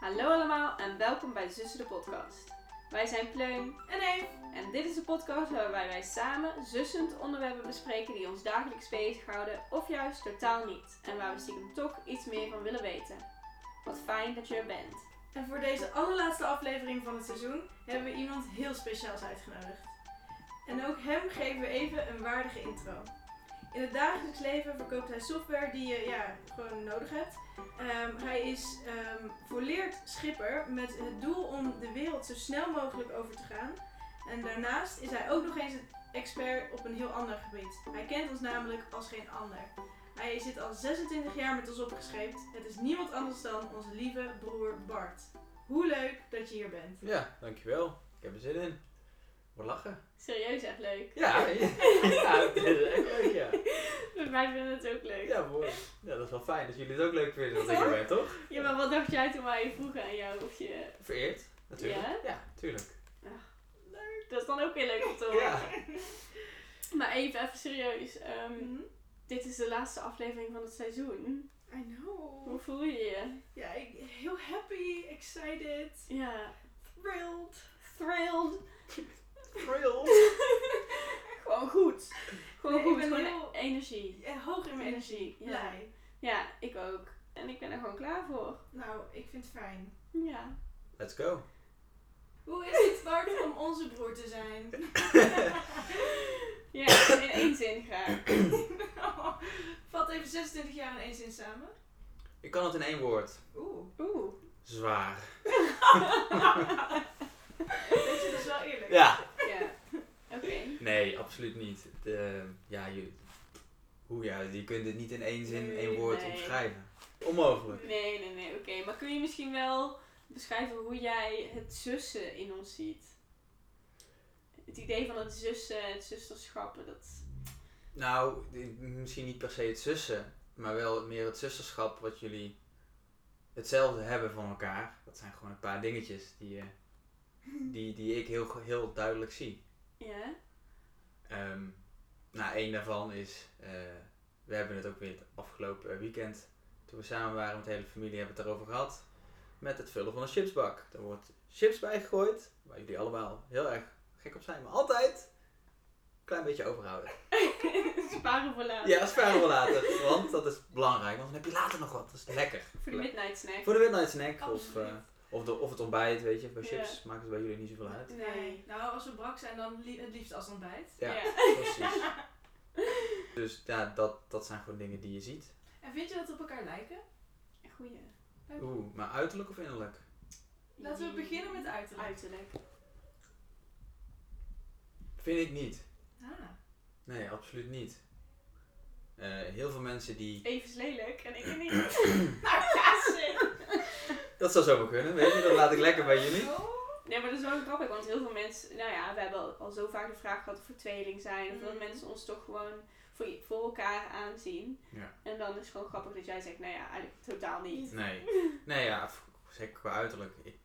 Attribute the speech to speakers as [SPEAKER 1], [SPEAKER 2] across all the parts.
[SPEAKER 1] Hallo allemaal en welkom bij Zussen de Podcast. Wij zijn Pleun
[SPEAKER 2] En Eve.
[SPEAKER 1] en dit is de podcast waarbij wij samen zussend onderwerpen bespreken die ons dagelijks bezighouden of juist totaal niet. En waar we stiekem toch iets meer van willen weten. Wat fijn dat je er bent.
[SPEAKER 2] En voor deze allerlaatste aflevering van het seizoen hebben we iemand heel speciaals uitgenodigd. En ook hem geven we even een waardige intro. In het dagelijks leven verkoopt hij software die je ja, gewoon nodig hebt. Ehm, hij is ehm volleerd schipper met het doel om de wereld zo snel mogelijk over te gaan. En daarnaast is hij ook nog eens een expert op een heel ander gebied. Hij kent ons namelijk als geen ander. Hij zit al 26 jaar met ons opgeschreven. Het is niemand anders dan onze lieve broer Bart. Hoe leuk dat je hier bent.
[SPEAKER 3] Ja, dankjewel. Ik heb er zin in. We lachen.
[SPEAKER 1] Serieus echt leuk.
[SPEAKER 3] Ja, ja dat is echt leuk, ja.
[SPEAKER 1] Wij vinden het ook leuk.
[SPEAKER 3] Ja, mooi. Ja, dat is wel fijn dat jullie het ook leuk vinden dat ik er ben, toch?
[SPEAKER 1] Ja, maar wat dacht jij toen wij vroegen aan jou of je...
[SPEAKER 3] Vereerd, natuurlijk.
[SPEAKER 1] Ja?
[SPEAKER 3] Ja, tuurlijk.
[SPEAKER 1] Dat is dan ook weer leuk om te horen.
[SPEAKER 3] Ja.
[SPEAKER 1] Maar even, even serieus. ehm,
[SPEAKER 2] Mhm.
[SPEAKER 1] dit is de laatste aflevering van het seizoen.
[SPEAKER 2] I know.
[SPEAKER 1] Hoe voel je je?
[SPEAKER 2] Ja, ik heel happy, excited,
[SPEAKER 1] Ja,
[SPEAKER 2] thrilled.
[SPEAKER 1] thrilled.
[SPEAKER 3] Thrilled.
[SPEAKER 1] Gewoon goed. Gewoon
[SPEAKER 2] Nee, ik
[SPEAKER 1] goed.
[SPEAKER 2] ben
[SPEAKER 1] gewoon
[SPEAKER 2] heel-
[SPEAKER 1] energie.
[SPEAKER 2] En hoog in mijn energie.
[SPEAKER 1] Energie, ja.
[SPEAKER 2] Blij.
[SPEAKER 1] Ja, ik ook. En ik ben er gewoon klaar voor.
[SPEAKER 2] Nou, ik vind het fijn.
[SPEAKER 1] Ja.
[SPEAKER 3] Let's go.
[SPEAKER 2] Hoe is het, Bart, om onze broer te zijn?
[SPEAKER 1] Ja, in één zin graag.
[SPEAKER 2] Vat even 26 jaar in één zin samen.
[SPEAKER 3] Ik kan het in één woord.
[SPEAKER 2] Oeh.
[SPEAKER 1] Oeh.
[SPEAKER 3] Zwaar.
[SPEAKER 2] Weet je, dat is wel eerlijk.
[SPEAKER 3] Ja.
[SPEAKER 1] Ja. Oké.
[SPEAKER 3] Nee, absoluut niet. De, ja, je, hoe ja, je kunt het niet in één zin, één woord
[SPEAKER 1] Nee.
[SPEAKER 3] omschrijven. Onmogelijk.
[SPEAKER 1] Nee, nee, nee. Oké. Maar kun je misschien wel beschrijven hoe jij het zussen in ons ziet? Het idee van het zussen, het zusterschappen, dat...
[SPEAKER 3] Nou, d- misschien niet per se het zussen, maar wel meer het zusterschap wat jullie hetzelfde hebben van elkaar. Dat zijn gewoon een paar dingetjes die, eh, die, die ik heel, ge- heel duidelijk zie.
[SPEAKER 1] Ja?
[SPEAKER 3] Ehm nou, één daarvan is, eh, we hebben het ook weer het afgelopen eh, weekend, toen we samen waren met de hele familie, hebben we het daarover gehad. Met het vullen van een chipsbak. Er wordt chips bijgegooid, waar jullie allemaal heel erg gek op zijn, maar altijd een klein beetje overhouden.
[SPEAKER 1] Sparen voor later.
[SPEAKER 3] Ja, sparen we later. Want dat is belangrijk, want dan heb je later nog wat. Dat is lekker.
[SPEAKER 1] Voor de midnight snack.
[SPEAKER 3] Voor de midnight snack of,
[SPEAKER 2] Absoluut.
[SPEAKER 3] eh, of, de, of het ontbijt, weet je. Bij
[SPEAKER 1] Ja.
[SPEAKER 3] chips maakt het bij jullie niet zoveel uit.
[SPEAKER 2] Nee. Nou, als we brak zijn, dan li- het liefst als ontbijt.
[SPEAKER 3] Ja,
[SPEAKER 1] Ja.
[SPEAKER 3] precies. Dus ja, dat, dat zijn gewoon dingen die je ziet.
[SPEAKER 2] En vind je dat we op elkaar lijken?
[SPEAKER 1] Goeie.
[SPEAKER 3] Oeh, maar uiterlijk of innerlijk?
[SPEAKER 2] Laten we beginnen met uiterlijk.
[SPEAKER 1] Uiterlijk.
[SPEAKER 3] Vind ik niet.
[SPEAKER 2] Ah.
[SPEAKER 3] Nee, absoluut niet. Eh, heel veel mensen die...
[SPEAKER 1] Even is lelijk en ik ben niet. nou, ga ze.
[SPEAKER 3] Dat zou zomaar kunnen, weet je. Dat laat ik lekker bij jullie.
[SPEAKER 2] Oh.
[SPEAKER 1] Nee, maar dat is wel grappig, want heel veel mensen... Nou ja, we hebben al, al zo vaak de vraag gehad of we tweeling zijn. Of dat
[SPEAKER 2] Mhm.
[SPEAKER 1] mensen ons toch gewoon voor, i- voor elkaar aanzien.
[SPEAKER 3] Ja.
[SPEAKER 1] En dan is het gewoon grappig dat jij zegt, nou ja, eigenlijk totaal niet.
[SPEAKER 3] Nee. Nee, ja, f- zeker qua uiterlijk. Ik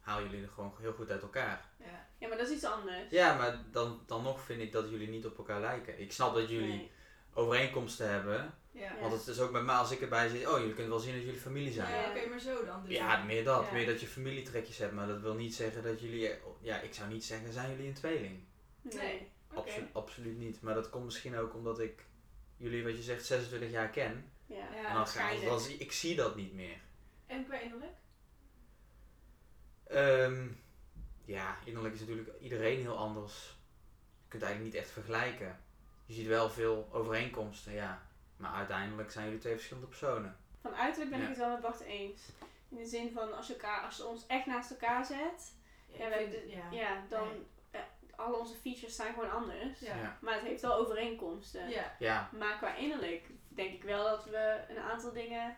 [SPEAKER 3] haal jullie er gewoon heel goed uit elkaar.
[SPEAKER 2] Ja.
[SPEAKER 1] Ja, maar dat is iets anders.
[SPEAKER 3] Ja, maar dan, dan nog vind ik dat jullie niet op elkaar lijken. Ik snap dat jullie
[SPEAKER 1] Nee.
[SPEAKER 3] overeenkomsten hebben.
[SPEAKER 2] Ja.
[SPEAKER 1] Ja.
[SPEAKER 3] Want het is ook met mij als ik erbij zit. Oh, jullie kunnen wel zien dat jullie familie zijn.
[SPEAKER 2] Ja, Oké, maar zo dan. Dus
[SPEAKER 3] Ja, meer dat.
[SPEAKER 1] Ja.
[SPEAKER 3] Meer dat je familietrekjes hebt. Maar dat wil niet zeggen dat jullie... Ja, ik zou niet zeggen, zijn jullie een tweeling?
[SPEAKER 1] Nee.
[SPEAKER 2] Oké.
[SPEAKER 3] Absolu- absoluut niet. Maar dat komt misschien ook omdat ik jullie, wat je zegt, 26 jaar ken.
[SPEAKER 1] Ja.
[SPEAKER 2] Ja.
[SPEAKER 3] en dan ga ik,
[SPEAKER 1] waarschijnlijk.
[SPEAKER 3] dan zie, ik zie dat niet meer.
[SPEAKER 2] En qua innerlijk?
[SPEAKER 3] Ehm, ja, innerlijk is natuurlijk iedereen heel anders. Je kunt het eigenlijk niet echt vergelijken. Je ziet wel veel overeenkomsten, ja. Maar uiteindelijk zijn jullie twee verschillende personen.
[SPEAKER 1] Van uiterlijk ben ik
[SPEAKER 3] Ja.
[SPEAKER 1] het wel met Bart eens. In de zin van, als je, elkaar, als je ons echt naast elkaar zet... Ja,
[SPEAKER 2] ik
[SPEAKER 1] wij-
[SPEAKER 2] vind-
[SPEAKER 1] de-
[SPEAKER 2] ja.
[SPEAKER 1] Ja, dan... eh, alle onze features zijn gewoon anders.
[SPEAKER 2] Ja.
[SPEAKER 3] Ja.
[SPEAKER 1] Maar het heeft wel overeenkomsten.
[SPEAKER 2] Ja.
[SPEAKER 3] Ja,
[SPEAKER 1] Maar qua innerlijk denk ik wel dat we een aantal dingen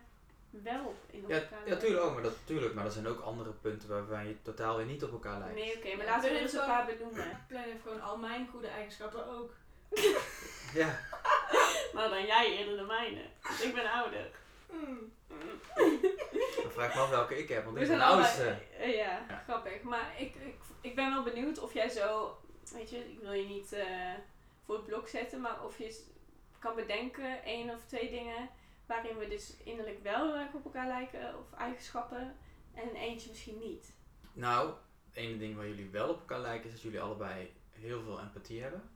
[SPEAKER 1] wel in
[SPEAKER 3] ja,
[SPEAKER 1] elkaar
[SPEAKER 3] ja tuurlijk, ook, maar dat, tuurlijk. Maar er zijn ook andere punten waarbij je totaal weer niet op elkaar lijkt.
[SPEAKER 1] Nee, oké, maar
[SPEAKER 2] Ja,
[SPEAKER 1] laten we
[SPEAKER 2] we
[SPEAKER 1] er eens een
[SPEAKER 2] hebben
[SPEAKER 1] paar benoemen.
[SPEAKER 2] Klein heeft gewoon al mijn goede eigenschappen ook.
[SPEAKER 3] Ja,
[SPEAKER 1] Maar dan jij eerder de mijne. Want Ik ben ouder.
[SPEAKER 2] Mm.
[SPEAKER 3] dan vraag ik me af welke ik heb, want
[SPEAKER 1] We
[SPEAKER 3] ik ben
[SPEAKER 1] zijn
[SPEAKER 3] de oudste.
[SPEAKER 1] allebei- eh, ja,
[SPEAKER 3] Ja.
[SPEAKER 1] grappig. Maar ik, ik, ik ben wel benieuwd of jij zo, weet je, ik wil je niet eh, voor het blok zetten, maar of je s- kan bedenken één of twee dingen waarin we dus innerlijk wel heel erg op elkaar lijken of eigenschappen. en eentje misschien niet.
[SPEAKER 3] Nou, het ene ding waar jullie wel op kan lijken is dat jullie allebei heel veel empathie hebben.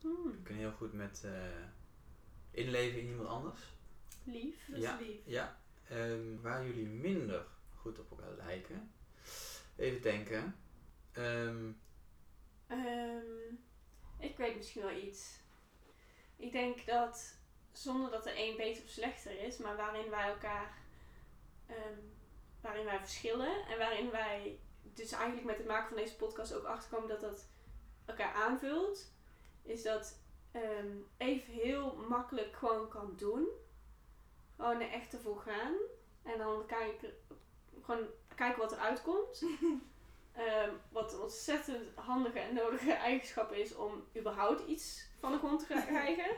[SPEAKER 1] Hmm,
[SPEAKER 3] Je kunt heel goed met eh, inleven in iemand anders.
[SPEAKER 1] lief.
[SPEAKER 2] Dat is
[SPEAKER 3] Ja.
[SPEAKER 2] lief.
[SPEAKER 3] Ja, ehm, waar jullie minder goed op elkaar lijken. Even denken. Ehm,
[SPEAKER 1] Ehm, ik weet misschien wel iets. Ik denk dat zonder dat de een beter of slechter is, maar waarin wij elkaar, ehm, waarin wij verschillen en waarin wij dus eigenlijk met het maken van deze podcast ook achterkomen dat dat elkaar aanvult, is dat ehm Eve heel makkelijk gewoon kan doen. Gewoon er echt ervoor gaan. En dan kijken, gewoon kijken wat eruit komt. Ehm, wat een ontzettend handige en nodige eigenschap is om überhaupt iets van de grond te gaan krijgen.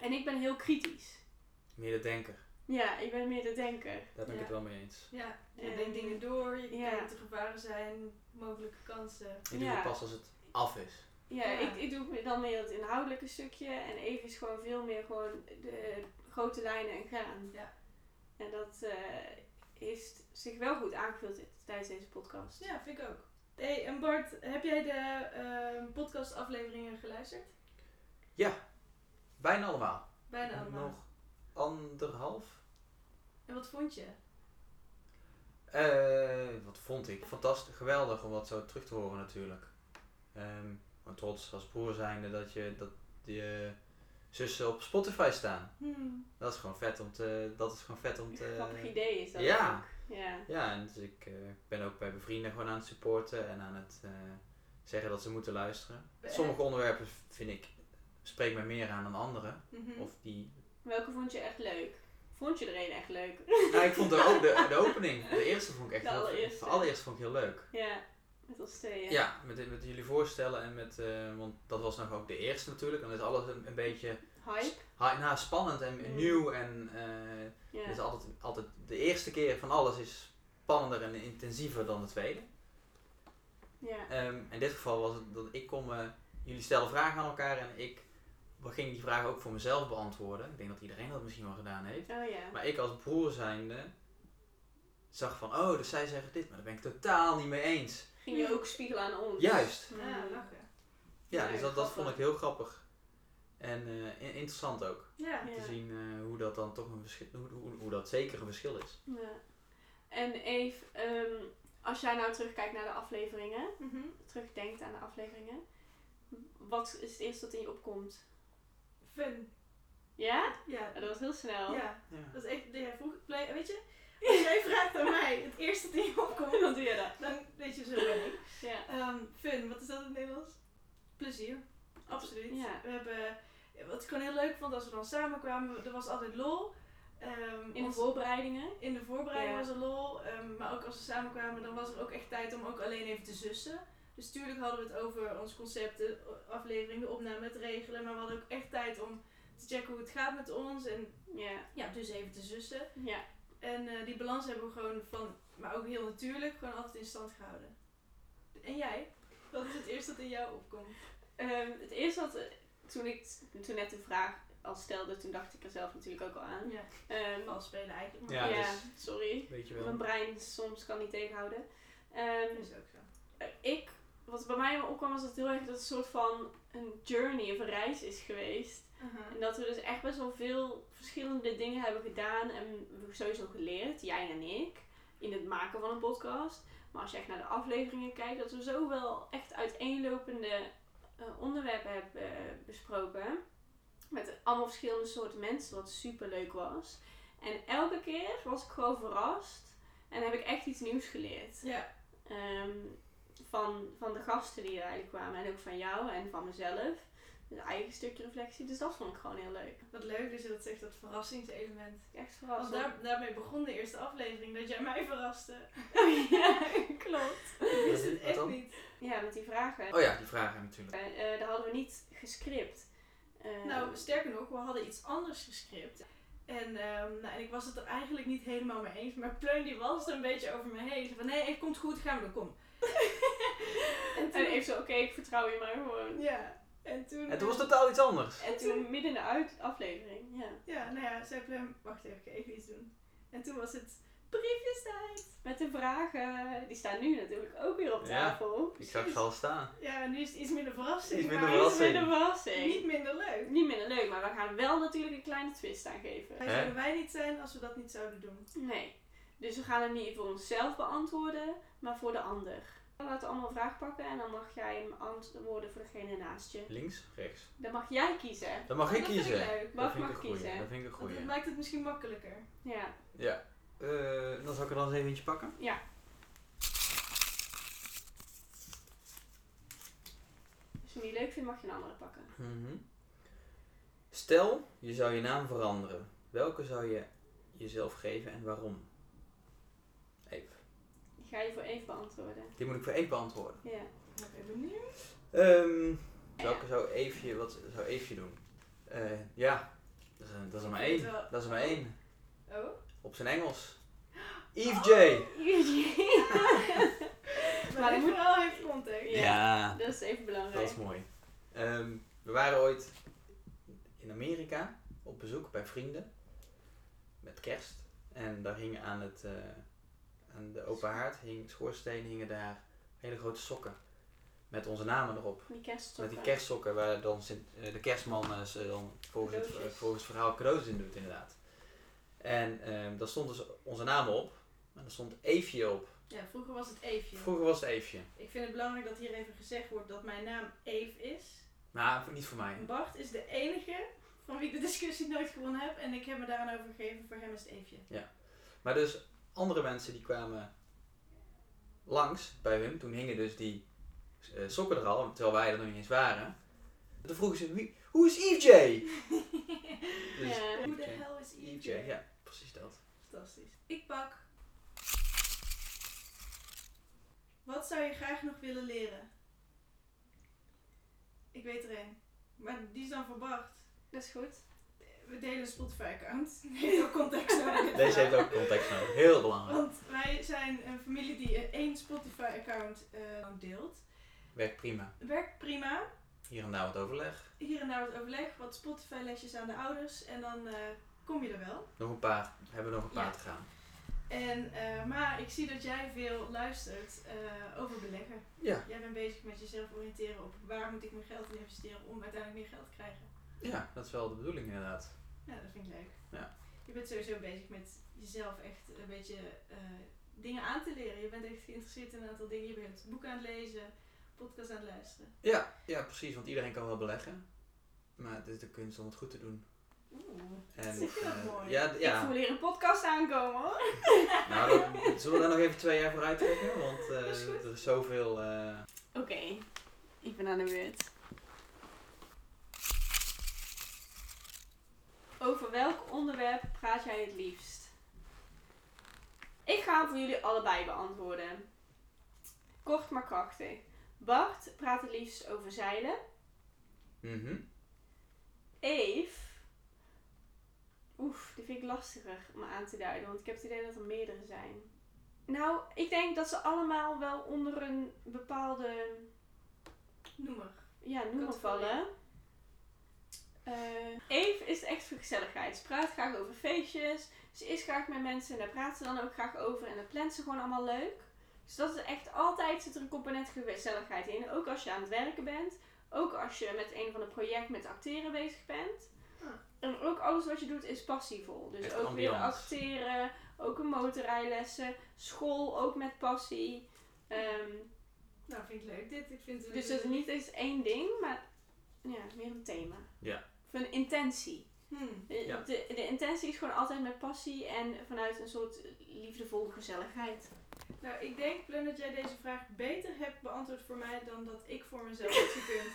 [SPEAKER 1] en ik ben heel kritisch.
[SPEAKER 3] meer de denker.
[SPEAKER 1] Ja, ik ben meer de denker.
[SPEAKER 3] Daar ben ik
[SPEAKER 2] Ja.
[SPEAKER 3] het wel mee eens.
[SPEAKER 2] Ja, je
[SPEAKER 1] Ehm,
[SPEAKER 2] denkt dingen door, je
[SPEAKER 1] ja.
[SPEAKER 2] kijkt wat de gevaren zijn, mogelijke kansen.
[SPEAKER 3] Ik doe
[SPEAKER 1] Ja.
[SPEAKER 3] het pas als het af is.
[SPEAKER 1] Ja,
[SPEAKER 2] Ja.
[SPEAKER 1] Ik, ik doe dan meer het inhoudelijke stukje. En Eve is gewoon veel meer gewoon de grote lijnen en gaan.
[SPEAKER 2] Ja.
[SPEAKER 1] En dat eh, heeft zich wel goed aangevuld tijdens deze podcast.
[SPEAKER 2] Ja, vind ik ook. hey, en Bart, heb jij de ehm, podcastafleveringen geluisterd?
[SPEAKER 3] Bijna allemaal.
[SPEAKER 2] Bijna allemaal.
[SPEAKER 3] Nog anderhalf.
[SPEAKER 2] En wat vond je?
[SPEAKER 3] Eh, wat vond ik? Fantastisch, geweldig om dat zo terug te horen natuurlijk. Ehm maar trots als broer zijnde dat je dat je zussen op Spotify staan.
[SPEAKER 2] Hmm.
[SPEAKER 3] Dat is gewoon vet om te. Dat is gewoon vet om te.
[SPEAKER 1] Een grappig idee is dat
[SPEAKER 3] eh, ja.
[SPEAKER 1] ook. Ja.
[SPEAKER 3] Ja, en dus ik eh, ben ook bij mijn vrienden gewoon aan het supporten en aan het eh, zeggen dat ze moeten luisteren. Sommige onderwerpen vind ik spreekt mij meer aan dan andere.
[SPEAKER 2] Mhm.
[SPEAKER 3] Of die.
[SPEAKER 1] Welke vond je echt leuk? Vond je er een echt leuk?
[SPEAKER 3] Nou, ik vond de, o- de, de opening, de eerste vond ik echt
[SPEAKER 1] De
[SPEAKER 3] heel
[SPEAKER 1] allereerste.
[SPEAKER 3] De allereerste vond ik heel leuk.
[SPEAKER 1] ja, met ons tweeën.
[SPEAKER 3] Ja, met, met jullie voorstellen en met, eh, want dat was nog ook de eerste natuurlijk. En dan is alles een, een beetje
[SPEAKER 1] Hype.
[SPEAKER 3] ha- nou, spannend en
[SPEAKER 1] Mm.
[SPEAKER 3] nieuw. En eh,
[SPEAKER 1] Ja.
[SPEAKER 3] het is altijd, altijd de eerste keer van alles is spannender en intensiever dan de tweede.
[SPEAKER 1] ja.
[SPEAKER 3] Ehm, in dit geval was het dat ik kon me, jullie stelden vragen aan elkaar en ik ging die vragen ook voor mezelf beantwoorden. Ik denk dat iedereen dat misschien wel gedaan heeft.
[SPEAKER 1] Oh ja.
[SPEAKER 3] Maar ik als broer zijnde zag van, oh, dus zij zeggen dit, maar daar ben ik totaal niet mee eens.
[SPEAKER 1] Ging je ook spiegelen aan ons?
[SPEAKER 3] Juist.
[SPEAKER 1] Mm.
[SPEAKER 2] Ja, lachen.
[SPEAKER 3] Ja,
[SPEAKER 1] Ja,
[SPEAKER 3] dus dat, dat
[SPEAKER 1] grappig.
[SPEAKER 3] vond ik heel grappig. En eh, in- interessant ook.
[SPEAKER 2] Ja.
[SPEAKER 1] Ja.
[SPEAKER 3] Te zien eh, hoe dat dan toch een verschil, hoe, hoe, hoe dat zeker een verschil is.
[SPEAKER 1] Ja. En Eve, ehm, als jij nou terugkijkt naar de afleveringen,
[SPEAKER 2] Mhm.
[SPEAKER 1] terugdenkt aan de afleveringen, wat is het eerste dat in je opkomt?
[SPEAKER 2] Fun.
[SPEAKER 1] Ja?
[SPEAKER 2] Ja.
[SPEAKER 1] Ja, Dat was heel snel.
[SPEAKER 2] Ja.
[SPEAKER 3] Ja.
[SPEAKER 2] Dat is echt, jij vroeg, blij- weet je, als jij vraagt aan mij het eerste die opkomt,
[SPEAKER 1] Dan doe je dat.
[SPEAKER 2] dan weet je, zo ben ik.
[SPEAKER 1] Ja.
[SPEAKER 2] Ehm, fun, wat is dat in het Nederlands? Plezier. Absoluut.
[SPEAKER 1] Ja.
[SPEAKER 2] We hebben, wat ik gewoon heel leuk vond als we dan samenkwamen, er was altijd lol. Ehm,
[SPEAKER 1] In de
[SPEAKER 2] ons-
[SPEAKER 1] voorbereidingen.
[SPEAKER 2] in de voorbereiding
[SPEAKER 1] Ja.
[SPEAKER 2] was er lol. ehm, maar ook als we samenkwamen, dan was er ook echt tijd om ook alleen even te zussen. Dus tuurlijk hadden we het over ons concept, de aflevering, de opname, het regelen. Maar we hadden ook echt tijd om te checken hoe het gaat met ons. En
[SPEAKER 1] Ja.
[SPEAKER 2] ja, dus even te zussen.
[SPEAKER 1] Ja.
[SPEAKER 2] En eh, die balans hebben we gewoon van, maar ook heel natuurlijk, gewoon altijd in stand gehouden. En jij? Wat is het eerste dat in jou opkomt?
[SPEAKER 1] Ehm, het eerste wat, eh, toen ik t- toen net de vraag al stelde, toen dacht ik er zelf natuurlijk ook al aan.
[SPEAKER 2] Ja,
[SPEAKER 1] Ehm,
[SPEAKER 2] vals spelen eigenlijk.
[SPEAKER 3] Ja,
[SPEAKER 1] ja,
[SPEAKER 2] Maar
[SPEAKER 3] dus-
[SPEAKER 1] sorry.
[SPEAKER 3] Weet je wel.
[SPEAKER 1] Mijn brein soms kan niet tegenhouden. Ehm,
[SPEAKER 2] dat is ook zo.
[SPEAKER 1] Eh, ik, wat bij mij opkwam, was dat heel erg dat het een soort van een journey of een reis is geweest.
[SPEAKER 2] Mhm.
[SPEAKER 1] En dat we dus echt best wel veel verschillende dingen hebben gedaan en we sowieso geleerd, jij en ik, in het maken van een podcast. Maar als je echt naar de afleveringen kijkt, dat we zo wel echt uiteenlopende eh, onderwerpen hebben eh, besproken. Met allemaal verschillende soorten mensen, wat super leuk was. En elke keer was ik gewoon verrast en heb ik echt iets nieuws geleerd
[SPEAKER 2] Ja,
[SPEAKER 1] ehm, van, van de gasten die er eigenlijk kwamen. En ook van jou en van mezelf. Dus eigen stukje reflectie. Dus dat vond ik gewoon heel leuk.
[SPEAKER 2] wat leuk dus dat zegt, dat verrassingselement.
[SPEAKER 1] Echt
[SPEAKER 2] Want
[SPEAKER 1] verrassend.
[SPEAKER 2] daar, daarmee begon de eerste aflevering, dat jij mij verraste.
[SPEAKER 1] Oh ja, klopt.
[SPEAKER 2] Ik wist
[SPEAKER 3] Wat
[SPEAKER 2] het echt
[SPEAKER 3] dan?
[SPEAKER 2] niet.
[SPEAKER 1] Ja, met die vragen.
[SPEAKER 3] Oh ja, die vragen natuurlijk.
[SPEAKER 1] Eh, eh, daar hadden we niet gescript. Eh,
[SPEAKER 2] Nou, sterker nog, we hadden iets anders gescript. En, ehm, nou, en ik was het er eigenlijk niet helemaal mee eens, maar Pleun die was er een beetje over me heen. Ze Van nee, het komt goed, gaan we doen, kom.
[SPEAKER 1] en
[SPEAKER 2] en
[SPEAKER 1] eh, even zo, oké, ik vertrouw je maar gewoon.
[SPEAKER 2] Ja, en toen...
[SPEAKER 3] Het was totaal iets anders.
[SPEAKER 1] En toen midden in de uit aflevering, ja.
[SPEAKER 2] Ja, nou ja, zei Plem, wacht even, ik ga even iets doen. En toen was het, briefjestijd.
[SPEAKER 1] Met de vragen, die staan nu natuurlijk ook weer op
[SPEAKER 3] Ja.
[SPEAKER 1] tafel.
[SPEAKER 3] Ik zag ze al staan.
[SPEAKER 2] Ja, nu is het iets minder verrassing.
[SPEAKER 3] Iets minder
[SPEAKER 2] maar
[SPEAKER 1] Dat is
[SPEAKER 3] verrassing.
[SPEAKER 1] weer een verrassing.
[SPEAKER 2] Niet minder leuk.
[SPEAKER 1] Niet minder leuk, maar we gaan wel natuurlijk een kleine twist aan geven.
[SPEAKER 2] Wij
[SPEAKER 3] Hè?
[SPEAKER 2] zouden wij niet zijn als we dat niet zouden doen.
[SPEAKER 1] Nee. Dus we gaan hem niet voor onszelf beantwoorden, maar voor de ander. We laten allemaal een vraag pakken en dan mag jij hem antwoorden voor degene naast je.
[SPEAKER 3] Links of rechts?
[SPEAKER 1] Dan mag jij kiezen.
[SPEAKER 3] Dan mag ik
[SPEAKER 1] Dat vind
[SPEAKER 3] kiezen.
[SPEAKER 1] ik leuk.
[SPEAKER 3] Dat
[SPEAKER 1] Mag
[SPEAKER 3] vind
[SPEAKER 1] mag
[SPEAKER 3] ik een goeie. Dat
[SPEAKER 1] kiezen.
[SPEAKER 3] vind ik een
[SPEAKER 2] Want dat
[SPEAKER 3] goeie.
[SPEAKER 2] maakt het misschien makkelijker.
[SPEAKER 1] Ja.
[SPEAKER 3] Ja. Eh, dan zal ik er dan eens even eentje pakken.
[SPEAKER 1] Als je hem niet leuk vindt, mag je een andere pakken.
[SPEAKER 3] Mhm. Stel, je zou je naam veranderen. Welke zou je jezelf geven en waarom? Even.
[SPEAKER 1] Die ga je voor even beantwoorden.
[SPEAKER 3] Die moet ik voor even beantwoorden.
[SPEAKER 1] Ja.
[SPEAKER 2] Ik ben benieuwd.
[SPEAKER 3] Ehm, welke zou Eefje, wat zou Eefje doen? Eh, ja, dat is, er- dat is er maar
[SPEAKER 2] Ik vind
[SPEAKER 3] één.
[SPEAKER 2] het wel-
[SPEAKER 3] Dat is er maar één.
[SPEAKER 2] Oh?
[SPEAKER 3] Op zijn Engels. Eve J.
[SPEAKER 2] Maar
[SPEAKER 1] dat
[SPEAKER 2] dit
[SPEAKER 1] moet-
[SPEAKER 2] vooral heeft context.
[SPEAKER 1] Ja.
[SPEAKER 3] Ja,
[SPEAKER 1] Dat is even
[SPEAKER 3] dat
[SPEAKER 1] belangrijk.
[SPEAKER 3] is mooi. Ehm, we waren ooit in Amerika op bezoek bij vrienden. Met kerst. En daar hing aan, het, eh, aan de open haard, hing, schoorsteen, hingen daar hele grote sokken. Met onze namen erop.
[SPEAKER 1] Die kerststokken.
[SPEAKER 3] Met die kerstsokken waar dan Sint- eh, de kerstman eh, ze dan volgens het,
[SPEAKER 1] Cadeautjes.
[SPEAKER 3] eh, volgens het verhaal cadeaus in doet inderdaad. En ehm, daar stond dus onze namen op. En daar stond Eefje op.
[SPEAKER 2] Ja, vroeger was het Eefje.
[SPEAKER 3] Vroeger was het Eefje.
[SPEAKER 2] Ik vind het belangrijk dat hier even gezegd wordt dat mijn naam Eef is.
[SPEAKER 3] Maar niet voor mij.
[SPEAKER 2] Bart is de enige van wie ik de discussie nooit gewonnen heb. En ik heb me daaraan overgegeven. Voor hem is het Eefje.
[SPEAKER 3] Maar dus andere mensen die kwamen langs bij hun. Toen hingen dus die eh, sokken er al, terwijl wij er nog niet eens waren. Toen vroegen ze, wie, hoe is EJ? Dus
[SPEAKER 1] Ja.
[SPEAKER 2] Hoe de
[SPEAKER 3] EJ.
[SPEAKER 2] hel is Eefje?
[SPEAKER 3] EJ, ja, precies dat.
[SPEAKER 2] Fantastisch. Ik pak. Wat zou je graag nog willen leren? Ik weet er één. Maar die is dan voor Bart.
[SPEAKER 1] Dat is goed.
[SPEAKER 2] We delen een Spotify-account. Heeft ook context nodig.
[SPEAKER 3] Deze heeft ook context nodig, heel belangrijk.
[SPEAKER 2] Want wij zijn een familie die één Spotify-account eh, deelt.
[SPEAKER 3] Werkt prima.
[SPEAKER 2] Werkt prima.
[SPEAKER 3] Hier en daar wat overleg.
[SPEAKER 2] Hier en daar wat overleg, wat Spotify-lesjes aan de ouders. En dan eh, kom je er wel.
[SPEAKER 3] Nog een paar, hebben we nog een paar
[SPEAKER 2] Ja.
[SPEAKER 3] te gaan.
[SPEAKER 2] En, eh, maar ik zie dat jij veel luistert eh, over beleggen.
[SPEAKER 3] Ja,
[SPEAKER 2] Jij bent bezig met jezelf oriënteren op waar moet ik mijn geld in investeren om uiteindelijk meer geld te krijgen.
[SPEAKER 3] ja, dat is wel de bedoeling inderdaad.
[SPEAKER 2] Nou, dat vind ik leuk.
[SPEAKER 3] Ja.
[SPEAKER 2] Je bent sowieso bezig met jezelf echt een beetje eh, dingen aan te leren. Je bent echt geïnteresseerd in een aantal dingen. Je bent boeken aan het lezen, podcast aan het luisteren.
[SPEAKER 3] Ja, ja, precies, want iedereen kan wel beleggen. Maar het is de kunst om het goed te doen.
[SPEAKER 2] Oeh.
[SPEAKER 3] En,
[SPEAKER 2] Zeg je dat
[SPEAKER 3] eh,
[SPEAKER 2] mooi?
[SPEAKER 3] Ja, d- ja.
[SPEAKER 1] Ik voel hier een podcast aankomen hoor.
[SPEAKER 3] Nou, dat- zullen we daar nog even twee jaar voor uittrekken? Want eh,
[SPEAKER 2] Dat is goed.
[SPEAKER 3] er is zoveel. eh,
[SPEAKER 1] Oké, ik ben aan de beurt. Over welk onderwerp praat jij het liefst? Ik ga hem voor jullie allebei beantwoorden. Kort maar krachtig. Bart praat het liefst over zeilen.
[SPEAKER 3] mhm.
[SPEAKER 1] Eve. Oef, die vind ik lastiger om aan te duiden, want ik heb het idee dat er meerdere zijn. Nou, ik denk dat ze allemaal wel onder een bepaalde
[SPEAKER 2] Noem maar.
[SPEAKER 1] ja, noem maar
[SPEAKER 2] Categorie.
[SPEAKER 1] vallen. Eh Eve is echt voor gezelligheid. Ze praat graag over feestjes. Ze is graag met mensen en daar praat ze dan ook graag over. En dat plant ze gewoon allemaal leuk. Dus dat is echt altijd zit er een component gezelligheid in. Ook als je aan het werken bent. Ook als je met een van de project met acteren bezig bent.
[SPEAKER 2] Ah.
[SPEAKER 1] En ook alles wat je doet is passievol. Dus
[SPEAKER 3] Echt
[SPEAKER 1] ook weer
[SPEAKER 3] ambiance.
[SPEAKER 1] acteren. Ook een motorrijlessen. School ook met passie. Ehm,
[SPEAKER 2] Nou, vind ik leuk dit. Ik vind het
[SPEAKER 1] dus dat is niet eens één ding, maar ja, meer een thema.
[SPEAKER 3] Ja.
[SPEAKER 1] Of een intentie.
[SPEAKER 2] Hmm.
[SPEAKER 1] De,
[SPEAKER 3] Ja.
[SPEAKER 1] de, de intentie is gewoon altijd met passie en vanuit een soort liefdevolle gezelligheid.
[SPEAKER 2] Nou, ik denk, Plum, dat jij deze vraag beter hebt beantwoord voor mij dan dat ik voor mezelf heb gekund.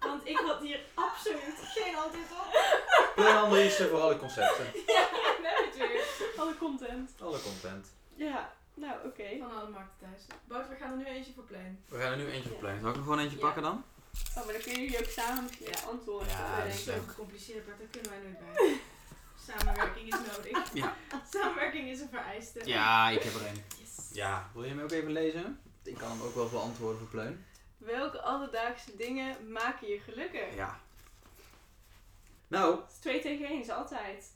[SPEAKER 2] Want ik had hier absoluut geen antwoord op.
[SPEAKER 3] Plan analyse voor alle concepten,
[SPEAKER 2] Ja, net weer.
[SPEAKER 1] Alle content.
[SPEAKER 3] alle content.
[SPEAKER 1] Ja, nou oké.
[SPEAKER 2] Van alle markten thuis. Bout, we gaan er nu eentje voor plannen.
[SPEAKER 3] We gaan er nu eentje
[SPEAKER 1] Ja.
[SPEAKER 3] voor plannen. Zal ik er gewoon eentje
[SPEAKER 2] Ja.
[SPEAKER 3] pakken dan?
[SPEAKER 1] Oh, maar dan kunnen jullie ook samen misschien
[SPEAKER 2] Ja.
[SPEAKER 1] antwoorden.
[SPEAKER 3] Ja,
[SPEAKER 1] bedenken.
[SPEAKER 2] dat is
[SPEAKER 3] dus- leuk.
[SPEAKER 2] zo gecompliceerd, Bart. Daar kunnen wij nooit bij. Samenwerking is nodig.
[SPEAKER 3] Ja.
[SPEAKER 2] Samenwerking is een vereiste.
[SPEAKER 3] ik heb er een.
[SPEAKER 2] Yes.
[SPEAKER 3] Ja. Wil je hem ook even lezen? Ik kan hem ook wel beantwoorden voor Pleun.
[SPEAKER 2] Welke alledaagse dingen maken je gelukkig?
[SPEAKER 3] Ja. Nou,
[SPEAKER 1] Het is twee tegen één, is altijd.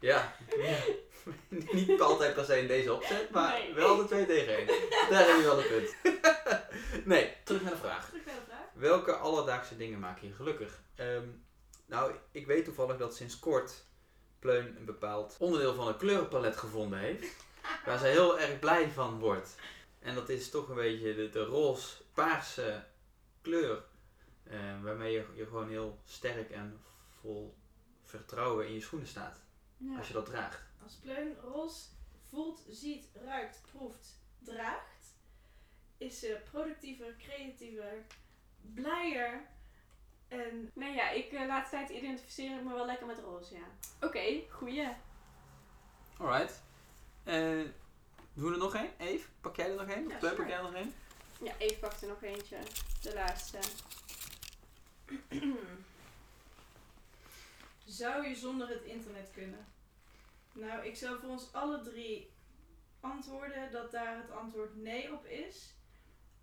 [SPEAKER 3] ja. niet altijd per se in deze opzet, maar
[SPEAKER 1] Nee.
[SPEAKER 3] wel de 2 tegen 1. Daar heb je wel een punt. nee, terug naar de vraag.
[SPEAKER 2] Terug naar de vraag.
[SPEAKER 3] Welke alledaagse dingen maken je gelukkig? Ehm, nou, ik weet toevallig dat sinds kort Pleun een bepaald onderdeel van een kleurenpalet gevonden heeft. Waar ze heel erg blij van wordt. En dat is toch een beetje de, de roze-paarse kleur. eh, waarmee je, je gewoon heel sterk en vol vertrouwen in je schoenen staat.
[SPEAKER 1] Ja.
[SPEAKER 3] Als je dat draagt.
[SPEAKER 2] Als pleun roze voelt, ziet, ruikt, proeft, draagt, is ze productiever, creatiever, blijer en
[SPEAKER 1] Nee, ja, ik eh, laatste tijd identificeer ik me wel lekker met roze, ja. Oké, goeie.
[SPEAKER 3] Alright. Eh doen we er nog één? Eve, pak jij er nog één?
[SPEAKER 2] Ja,
[SPEAKER 3] Of Pleun,
[SPEAKER 2] sure.
[SPEAKER 3] pak jij er nog één?
[SPEAKER 1] Ja, even pakt er nog eentje. De laatste.
[SPEAKER 2] zou je zonder het internet kunnen? Nou, ik zou voor ons alle drie antwoorden dat daar het antwoord nee op is.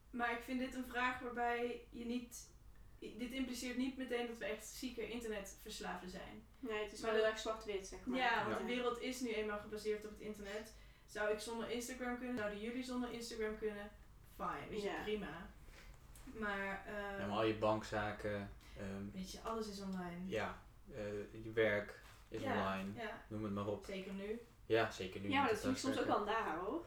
[SPEAKER 2] Maar ik vind dit een vraag waarbij je niet. Dit impliceert niet meteen dat we echt zieke internetverslaafden zijn.
[SPEAKER 1] Nee, het is
[SPEAKER 2] Maar
[SPEAKER 1] wel heel
[SPEAKER 2] dat-
[SPEAKER 1] erg zwart-wit, zeg maar.
[SPEAKER 2] Ja,
[SPEAKER 3] Ja.
[SPEAKER 2] want de wereld is nu eenmaal gebaseerd op het internet. Zou ik zonder Instagram kunnen? Zouden jullie zonder Instagram kunnen? Fine, weet je,
[SPEAKER 1] Ja.
[SPEAKER 2] prima. Maar, eh,
[SPEAKER 3] Ja, maar al je bankzaken, ehm,
[SPEAKER 2] weet je, alles is online.
[SPEAKER 3] ja, eh, je werk is
[SPEAKER 2] Ja,
[SPEAKER 3] online,
[SPEAKER 2] Ja,
[SPEAKER 3] noem het maar op.
[SPEAKER 2] zeker nu.
[SPEAKER 3] Ja, zeker nu.
[SPEAKER 1] Ja, maar
[SPEAKER 3] met
[SPEAKER 1] dat vind ik soms ook
[SPEAKER 3] thuiswerken.
[SPEAKER 1] wel daar, hoor.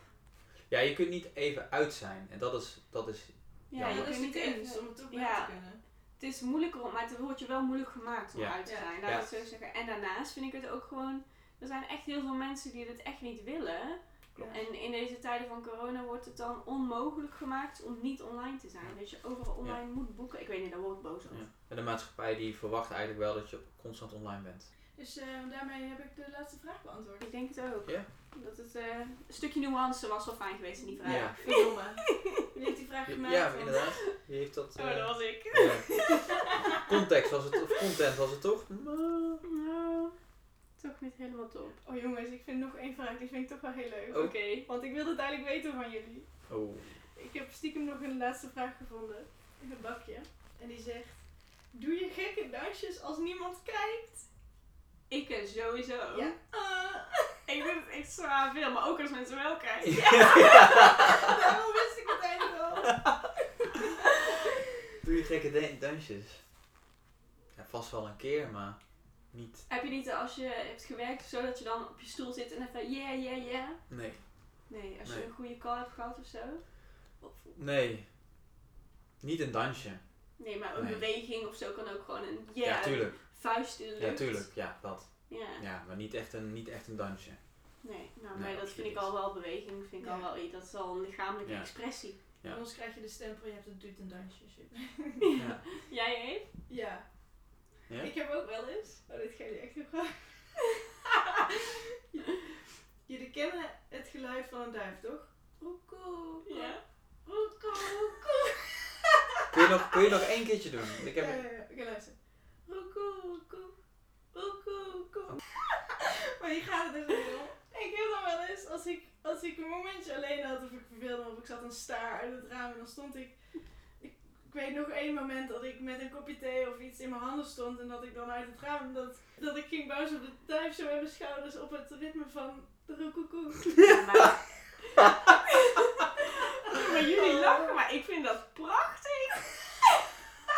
[SPEAKER 3] Ja, je kunt niet even uit zijn. En dat is, dat is
[SPEAKER 1] Ja,
[SPEAKER 2] Ja,
[SPEAKER 3] Ja,
[SPEAKER 1] je
[SPEAKER 2] dat
[SPEAKER 1] kunt
[SPEAKER 2] is niet
[SPEAKER 1] niet
[SPEAKER 2] eens
[SPEAKER 1] eens.
[SPEAKER 2] om het toch
[SPEAKER 1] Ja.
[SPEAKER 2] bij te kunnen.
[SPEAKER 1] Het is moeilijker om, maar het wordt je wel moeilijk gemaakt om
[SPEAKER 3] Ja.
[SPEAKER 1] uit te
[SPEAKER 2] Ja.
[SPEAKER 1] zijn.
[SPEAKER 3] Ja.
[SPEAKER 1] Laat ik het zo zeggen. En daarnaast vind ik het ook gewoon... Er zijn echt heel veel mensen die dit echt niet willen.
[SPEAKER 2] Klopt.
[SPEAKER 1] En in deze tijden van corona wordt het dan onmogelijk gemaakt om niet online te zijn.
[SPEAKER 3] Ja.
[SPEAKER 1] Dat je overal online moet boeken. Ik weet niet, daar word ik boos over.
[SPEAKER 3] ja. En de maatschappij die verwacht eigenlijk wel dat je constant online bent.
[SPEAKER 2] Dus eh, daarmee heb ik de laatste vraag beantwoord.
[SPEAKER 1] Ik denk het ook.
[SPEAKER 3] Ja.
[SPEAKER 1] Dat het eh, een stukje nuance was wel fijn geweest in die vraag.
[SPEAKER 3] Ja.
[SPEAKER 2] Verdomme. Wie heeft die vraag
[SPEAKER 3] Ja,
[SPEAKER 2] gemaakt? Want-
[SPEAKER 3] inderdaad. Wie heeft dat?
[SPEAKER 1] Oh,
[SPEAKER 3] eh,
[SPEAKER 1] dat was ik.
[SPEAKER 3] ja. Context was het, of content was het toch? Nou,
[SPEAKER 1] Nou, toch niet helemaal top.
[SPEAKER 2] Oh jongens, ik vind nog één vraag, die vind ik toch wel heel leuk.
[SPEAKER 3] Oh.
[SPEAKER 1] Oké.
[SPEAKER 2] Want ik wil het eigenlijk weten van jullie.
[SPEAKER 3] Oh.
[SPEAKER 2] Ik heb stiekem nog een laatste vraag gevonden in een bakje. En die zegt: Doe je gekke dansjes als niemand kijkt?
[SPEAKER 1] Ik eh, sowieso.
[SPEAKER 2] Ja. Ah,
[SPEAKER 1] Ik doe het echt zwaar veel, maar ook als mensen wel kijken.
[SPEAKER 2] Daarom wist ik het eigenlijk al.
[SPEAKER 3] Doe je gekke dan- dansjes? Ja, vast wel een keer, maar niet.
[SPEAKER 1] Heb je niet eh, als je hebt gewerkt of zo, dat je dan op je stoel zit en even yeah, yeah, yeah?
[SPEAKER 3] Nee.
[SPEAKER 1] Nee, als je
[SPEAKER 3] Nee.
[SPEAKER 1] een goede call hebt gehad of zo. Of,
[SPEAKER 3] Nee. Niet een dansje.
[SPEAKER 1] nee, maar een
[SPEAKER 3] Nee.
[SPEAKER 1] beweging of zo kan ook gewoon een yeah,
[SPEAKER 3] Ja, tuurlijk.
[SPEAKER 1] een vuist in de
[SPEAKER 3] Ja,
[SPEAKER 1] lucht.
[SPEAKER 3] tuurlijk. Ja, dat.
[SPEAKER 1] Ja.
[SPEAKER 3] Ja, maar niet echt een, niet echt een dansje.
[SPEAKER 1] Nee, nou, maar
[SPEAKER 3] Nee,
[SPEAKER 1] dat
[SPEAKER 3] absoluut
[SPEAKER 1] vind ik
[SPEAKER 3] niet.
[SPEAKER 1] al wel beweging, vind ik
[SPEAKER 2] Ja.
[SPEAKER 1] al wel iets. Dat is al een lichamelijke
[SPEAKER 3] Ja.
[SPEAKER 1] expressie.
[SPEAKER 3] Ja.
[SPEAKER 2] Anders krijg je de stempel: Je hebt het doet een dansje. shit.
[SPEAKER 3] Ja.
[SPEAKER 1] Jij heeft?
[SPEAKER 2] Ja.
[SPEAKER 3] Ja?
[SPEAKER 2] Ik heb ook wel eens. Oh, dit ga je echt heel graag. Jullie kennen het geluid van een duif, toch? Roekoe.
[SPEAKER 1] Ja.
[SPEAKER 2] Roekoe, roekoe.
[SPEAKER 3] Kun je, nog, kun je nog één keertje doen? Ik
[SPEAKER 2] Ja,
[SPEAKER 3] heb...
[SPEAKER 2] ja, ja. Oké, luister. Roekoe, roekoe. Roekoe,
[SPEAKER 3] Oh.
[SPEAKER 2] roekoe. maar hier gaat het dus niet om. Ik heb dan wel eens, als ik, als ik een momentje alleen had of ik verveelde of ik zat een staar uit het raam en dan stond ik... Ik, ik weet nog één moment dat ik met een kopje thee of iets in mijn handen stond en dat ik dan uit het raam... Dat, dat ik ging bouwen op de duif zo met mijn schouders op het ritme van de roekoekoe.
[SPEAKER 1] Ja, maar... maar jullie lachen, maar ik vind dat prachtig.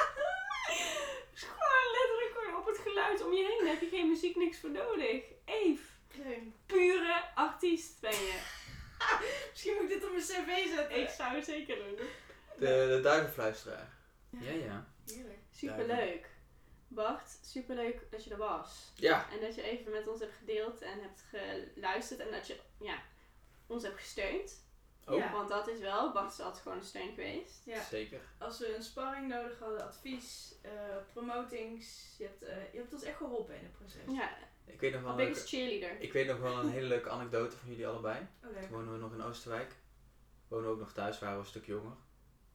[SPEAKER 1] Het is gewoon letterlijk gewoon op het geluid om je heen. Daar heb je geen muziek, niks voor nodig. Eve,
[SPEAKER 2] Leuk.
[SPEAKER 1] pure artiest ben je.
[SPEAKER 2] Misschien moet ik dit op mijn cv zetten.
[SPEAKER 1] Ik zou het zeker doen.
[SPEAKER 3] De, de duivenfluisteraar. Ja, ja.
[SPEAKER 2] Heerlijk.
[SPEAKER 1] Superleuk. Bart, superleuk dat je er was.
[SPEAKER 3] Ja,
[SPEAKER 1] En dat je even met ons hebt gedeeld en hebt geluisterd. En dat je ja, ons hebt gesteund.
[SPEAKER 3] Oh.
[SPEAKER 2] Ja.
[SPEAKER 1] Want dat is wel, Bart is altijd gewoon een steun geweest.
[SPEAKER 2] Ja.
[SPEAKER 3] zeker.
[SPEAKER 2] Als we een sparring nodig hadden, advies, eh, promotings. Je hebt, eh, je hebt ons echt geholpen in het proces.
[SPEAKER 1] Ja,
[SPEAKER 3] Ik weet nog
[SPEAKER 1] mijn
[SPEAKER 3] wel een leuke,
[SPEAKER 1] biggest cheerleader.
[SPEAKER 3] ik weet nog wel een hele leuke anekdote van jullie allebei.
[SPEAKER 2] Oh, leuk.
[SPEAKER 3] Toen wonen we nog in Oosterwijk. Wonen ook nog thuis, waren we een stuk jonger.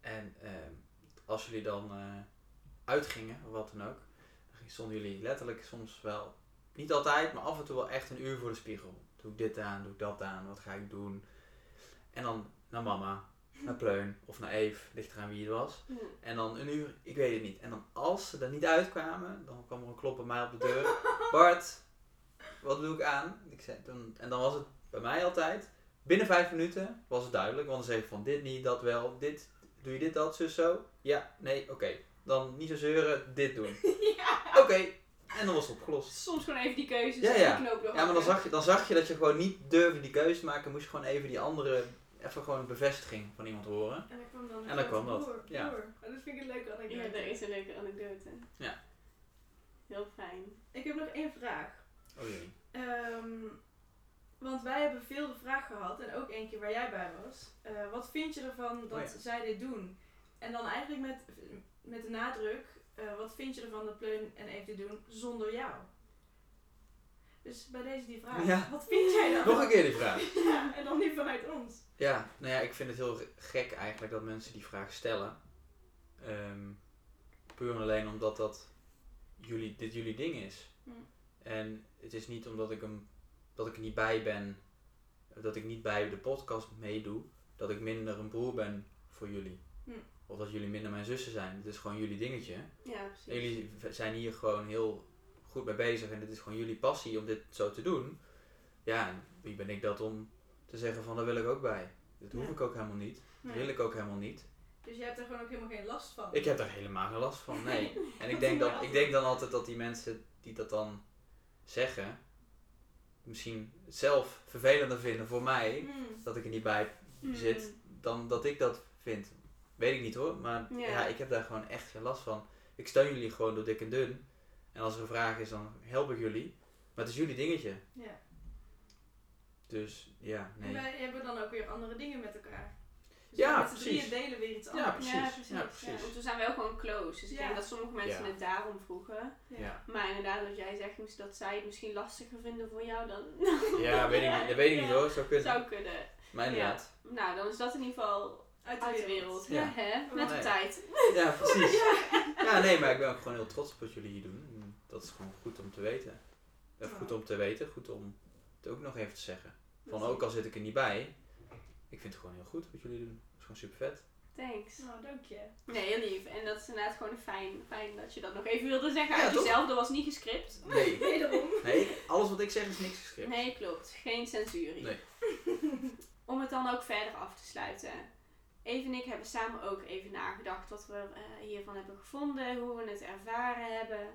[SPEAKER 3] En ehm, als jullie dan eh, uitgingen, of wat dan ook, dan stonden jullie letterlijk soms wel, niet altijd, maar af en toe wel echt een uur voor de spiegel. Doe ik dit aan, doe ik dat aan, wat ga ik doen? En dan naar mama, naar Pleun of naar Eve, ligt eraan wie het was.
[SPEAKER 1] Hm.
[SPEAKER 3] En dan een uur, ik weet het niet. En dan als ze er niet uitkwamen, dan kwam er een klop bij mij op de deur. Bart, wat doe ik aan? Ik zei, toen, en dan was het bij mij altijd, binnen vijf minuten was het duidelijk. Want dan zeg ik van dit niet, dat wel, dit, doe je dit, dat, zus, zo. Ja, nee, oké. Dan niet zo zeuren, dit doen. Oké, en dan was het opgelost.
[SPEAKER 1] Soms gewoon even die keuzes
[SPEAKER 3] Ja,
[SPEAKER 1] en
[SPEAKER 3] ja.
[SPEAKER 1] die knoop door.
[SPEAKER 3] Ja, maar dan zag, je, dan zag je dat je gewoon niet durfde die keuze te maken. Moest je gewoon even die andere, even gewoon een bevestiging van iemand horen.
[SPEAKER 2] En dan kwam dan
[SPEAKER 3] En dan kwam dat,
[SPEAKER 2] Door,
[SPEAKER 3] ja.
[SPEAKER 2] door. Oh, dat vind ik een leuke
[SPEAKER 1] Ja,
[SPEAKER 2] anekdote.
[SPEAKER 1] dat is een leuke anekdote.
[SPEAKER 3] Ja.
[SPEAKER 1] Heel fijn.
[SPEAKER 2] Ik heb nog één vraag.
[SPEAKER 3] Oh jee.
[SPEAKER 2] Ehm, want wij hebben veel de vraag gehad, en ook eentje waar jij bij was. Eh, wat vind je ervan dat
[SPEAKER 3] Oh ja.
[SPEAKER 2] zij dit doen? En dan eigenlijk met, met de nadruk, eh, wat vind je ervan dat Pleun en Eve dit doen zonder jou? Dus bij deze die vraag,
[SPEAKER 3] Ja.
[SPEAKER 2] wat vind jij dan?
[SPEAKER 3] Nog een keer die vraag.
[SPEAKER 2] Ja, en dan niet vanuit ons.
[SPEAKER 3] Ja, nou ja, ik vind het heel gek eigenlijk dat mensen die vraag stellen. Ehm, puur en alleen omdat dat jullie, dit jullie ding is.
[SPEAKER 1] Hm.
[SPEAKER 3] En het is niet omdat ik, hem, dat ik er niet bij ben, dat ik niet bij de podcast meedoe, dat ik minder een broer ben voor jullie.
[SPEAKER 2] Hm.
[SPEAKER 3] Of dat jullie minder mijn zussen zijn. Het is gewoon jullie dingetje.
[SPEAKER 1] Ja, precies.
[SPEAKER 3] Jullie v- zijn hier gewoon heel goed mee bezig en dit is gewoon jullie passie om dit zo te doen. Ja, en wie ben ik dat om te zeggen van daar wil ik ook bij. Dat hoef
[SPEAKER 1] Ja.
[SPEAKER 3] ik ook helemaal niet. Dat wil ik ook helemaal niet.
[SPEAKER 2] Dus je hebt er gewoon ook helemaal geen last van.
[SPEAKER 3] Ik heb daar helemaal geen last van, nee. En ik
[SPEAKER 2] Dat
[SPEAKER 3] denk,
[SPEAKER 2] doe
[SPEAKER 3] dat,
[SPEAKER 2] je
[SPEAKER 3] ik denk dan altijd dat die mensen die dat dan zeggen, misschien zelf vervelender vinden voor mij,
[SPEAKER 2] Hmm.
[SPEAKER 3] dat ik er niet bij
[SPEAKER 1] Mm.
[SPEAKER 3] zit, dan dat ik dat vind. Weet ik niet hoor, maar Hmm. ja.
[SPEAKER 1] Ja.
[SPEAKER 3] ik heb daar gewoon echt geen last van. Ik steun jullie gewoon door dik en dun. En als er een vraag is, dan help ik jullie. Maar het is jullie dingetje.
[SPEAKER 2] Ja.
[SPEAKER 3] Dus ja,
[SPEAKER 2] En
[SPEAKER 3] nee.
[SPEAKER 2] wij hebben dan ook weer andere dingen met elkaar. Dus
[SPEAKER 3] Ja,
[SPEAKER 2] met z'n drieën
[SPEAKER 3] precies.
[SPEAKER 2] delen weer iets
[SPEAKER 3] Ja,
[SPEAKER 2] anders.
[SPEAKER 3] precies.
[SPEAKER 1] Ja,
[SPEAKER 3] Ja,
[SPEAKER 1] precies.
[SPEAKER 3] precies.
[SPEAKER 1] Ja, want we zijn wel gewoon close. Dus ik
[SPEAKER 2] Ja.
[SPEAKER 1] denk dat sommige mensen
[SPEAKER 3] Ja.
[SPEAKER 1] het daarom vroegen.
[SPEAKER 3] Ja.
[SPEAKER 1] Maar inderdaad, wat jij zegt, misschien- dat zij het misschien lastiger vinden voor jou dan.
[SPEAKER 3] Ja, weet ik niet. Dat weet ik niet hoor. Zou kunnen.
[SPEAKER 1] Zou kunnen.
[SPEAKER 3] Maar inderdaad.
[SPEAKER 1] Nou, dan is dat in ieder geval
[SPEAKER 2] Uit de
[SPEAKER 1] uit de
[SPEAKER 2] wereld.
[SPEAKER 1] wereld. Oh,
[SPEAKER 3] Ja.
[SPEAKER 1] Hè? Met de
[SPEAKER 3] Nee.
[SPEAKER 1] tijd.
[SPEAKER 3] Ja, precies. Ja, nee, maar ik ben ook gewoon heel trots op wat jullie hier doen. En dat is gewoon goed om te weten. Of goed om te weten, goed om het ook nog even te zeggen. Van ook al zit ik er niet bij, ik vind het gewoon heel goed wat jullie doen. Het is gewoon super vet.
[SPEAKER 1] Thanks.
[SPEAKER 2] Nou, dank je.
[SPEAKER 1] Nee, heel lief. En dat is inderdaad gewoon fijn, fijn dat je dat nog even wilde zeggen
[SPEAKER 3] Ja,
[SPEAKER 1] uit
[SPEAKER 3] toch?
[SPEAKER 1] jezelf. Dat was niet gescript.
[SPEAKER 3] Nee.
[SPEAKER 2] Wederom.
[SPEAKER 3] Nee, alles wat ik zeg is niks geschript.
[SPEAKER 1] Nee, klopt. Geen censuur.
[SPEAKER 3] Nee.
[SPEAKER 1] Om het dan ook verder af te sluiten. Eve en ik hebben samen ook even nagedacht wat we eh, hiervan hebben gevonden, hoe we het ervaren hebben.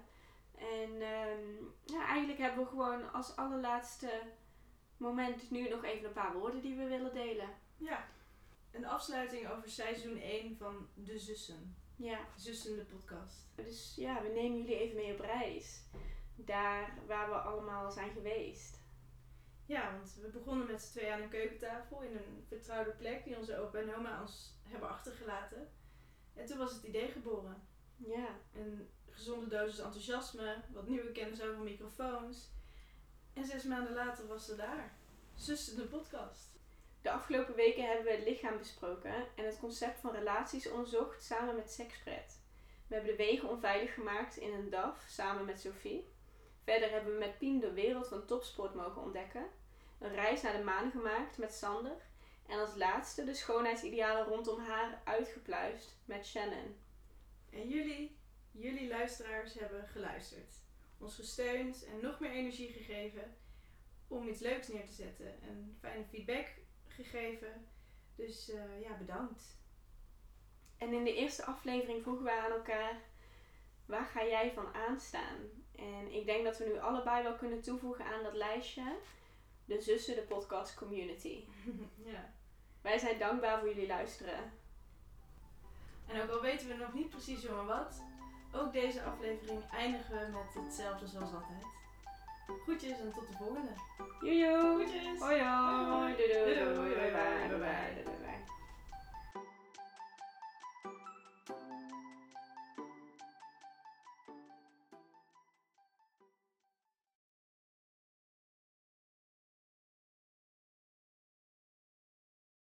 [SPEAKER 1] En ehm, ja, eigenlijk hebben we gewoon als allerlaatste moment nu nog even een paar woorden die we willen delen.
[SPEAKER 2] Ja. Een afsluiting over seizoen 1 van De Zussen.
[SPEAKER 1] Ja.
[SPEAKER 2] Zussen de podcast.
[SPEAKER 1] Dus ja, we nemen jullie even mee op reis. Daar waar we allemaal zijn geweest.
[SPEAKER 2] Ja, want we begonnen met z'n twee aan een keukentafel in een vertrouwde plek die onze opa en oma ons hebben achtergelaten. En toen was het idee geboren.
[SPEAKER 1] Ja.
[SPEAKER 2] Een gezonde dosis enthousiasme, wat nieuwe kennis over microfoons. En zes maanden later was ze daar. Zussen de podcast.
[SPEAKER 1] De afgelopen weken hebben we het lichaam besproken en het concept van relaties onderzocht samen met sekspret. We hebben de wegen onveilig gemaakt in een DAF samen met Sophie. Verder hebben we met Pien de wereld van topsport mogen ontdekken. Een reis naar de maan gemaakt met Sander. En als laatste de schoonheidsidealen rondom haar uitgepluist met Shannon.
[SPEAKER 2] En jullie, jullie luisteraars hebben geluisterd. Ons gesteund en nog meer energie gegeven om iets leuks neer te zetten. En fijne feedback gegeven. Dus eh, ja, bedankt.
[SPEAKER 1] En in de eerste aflevering vroegen we aan elkaar: waar ga jij van aanstaan? En ik denk dat we nu allebei wel kunnen toevoegen aan dat lijstje: de Zussen de Podcast Community.
[SPEAKER 2] ja.
[SPEAKER 1] Wij zijn dankbaar voor jullie luisteren.
[SPEAKER 2] En ook al weten we nog niet precies hoe en wat, ook deze aflevering eindigen we met hetzelfde zoals altijd. Groetjes en tot de volgende.
[SPEAKER 1] Joejoe!
[SPEAKER 2] Groetjes!
[SPEAKER 1] Hoi hoi!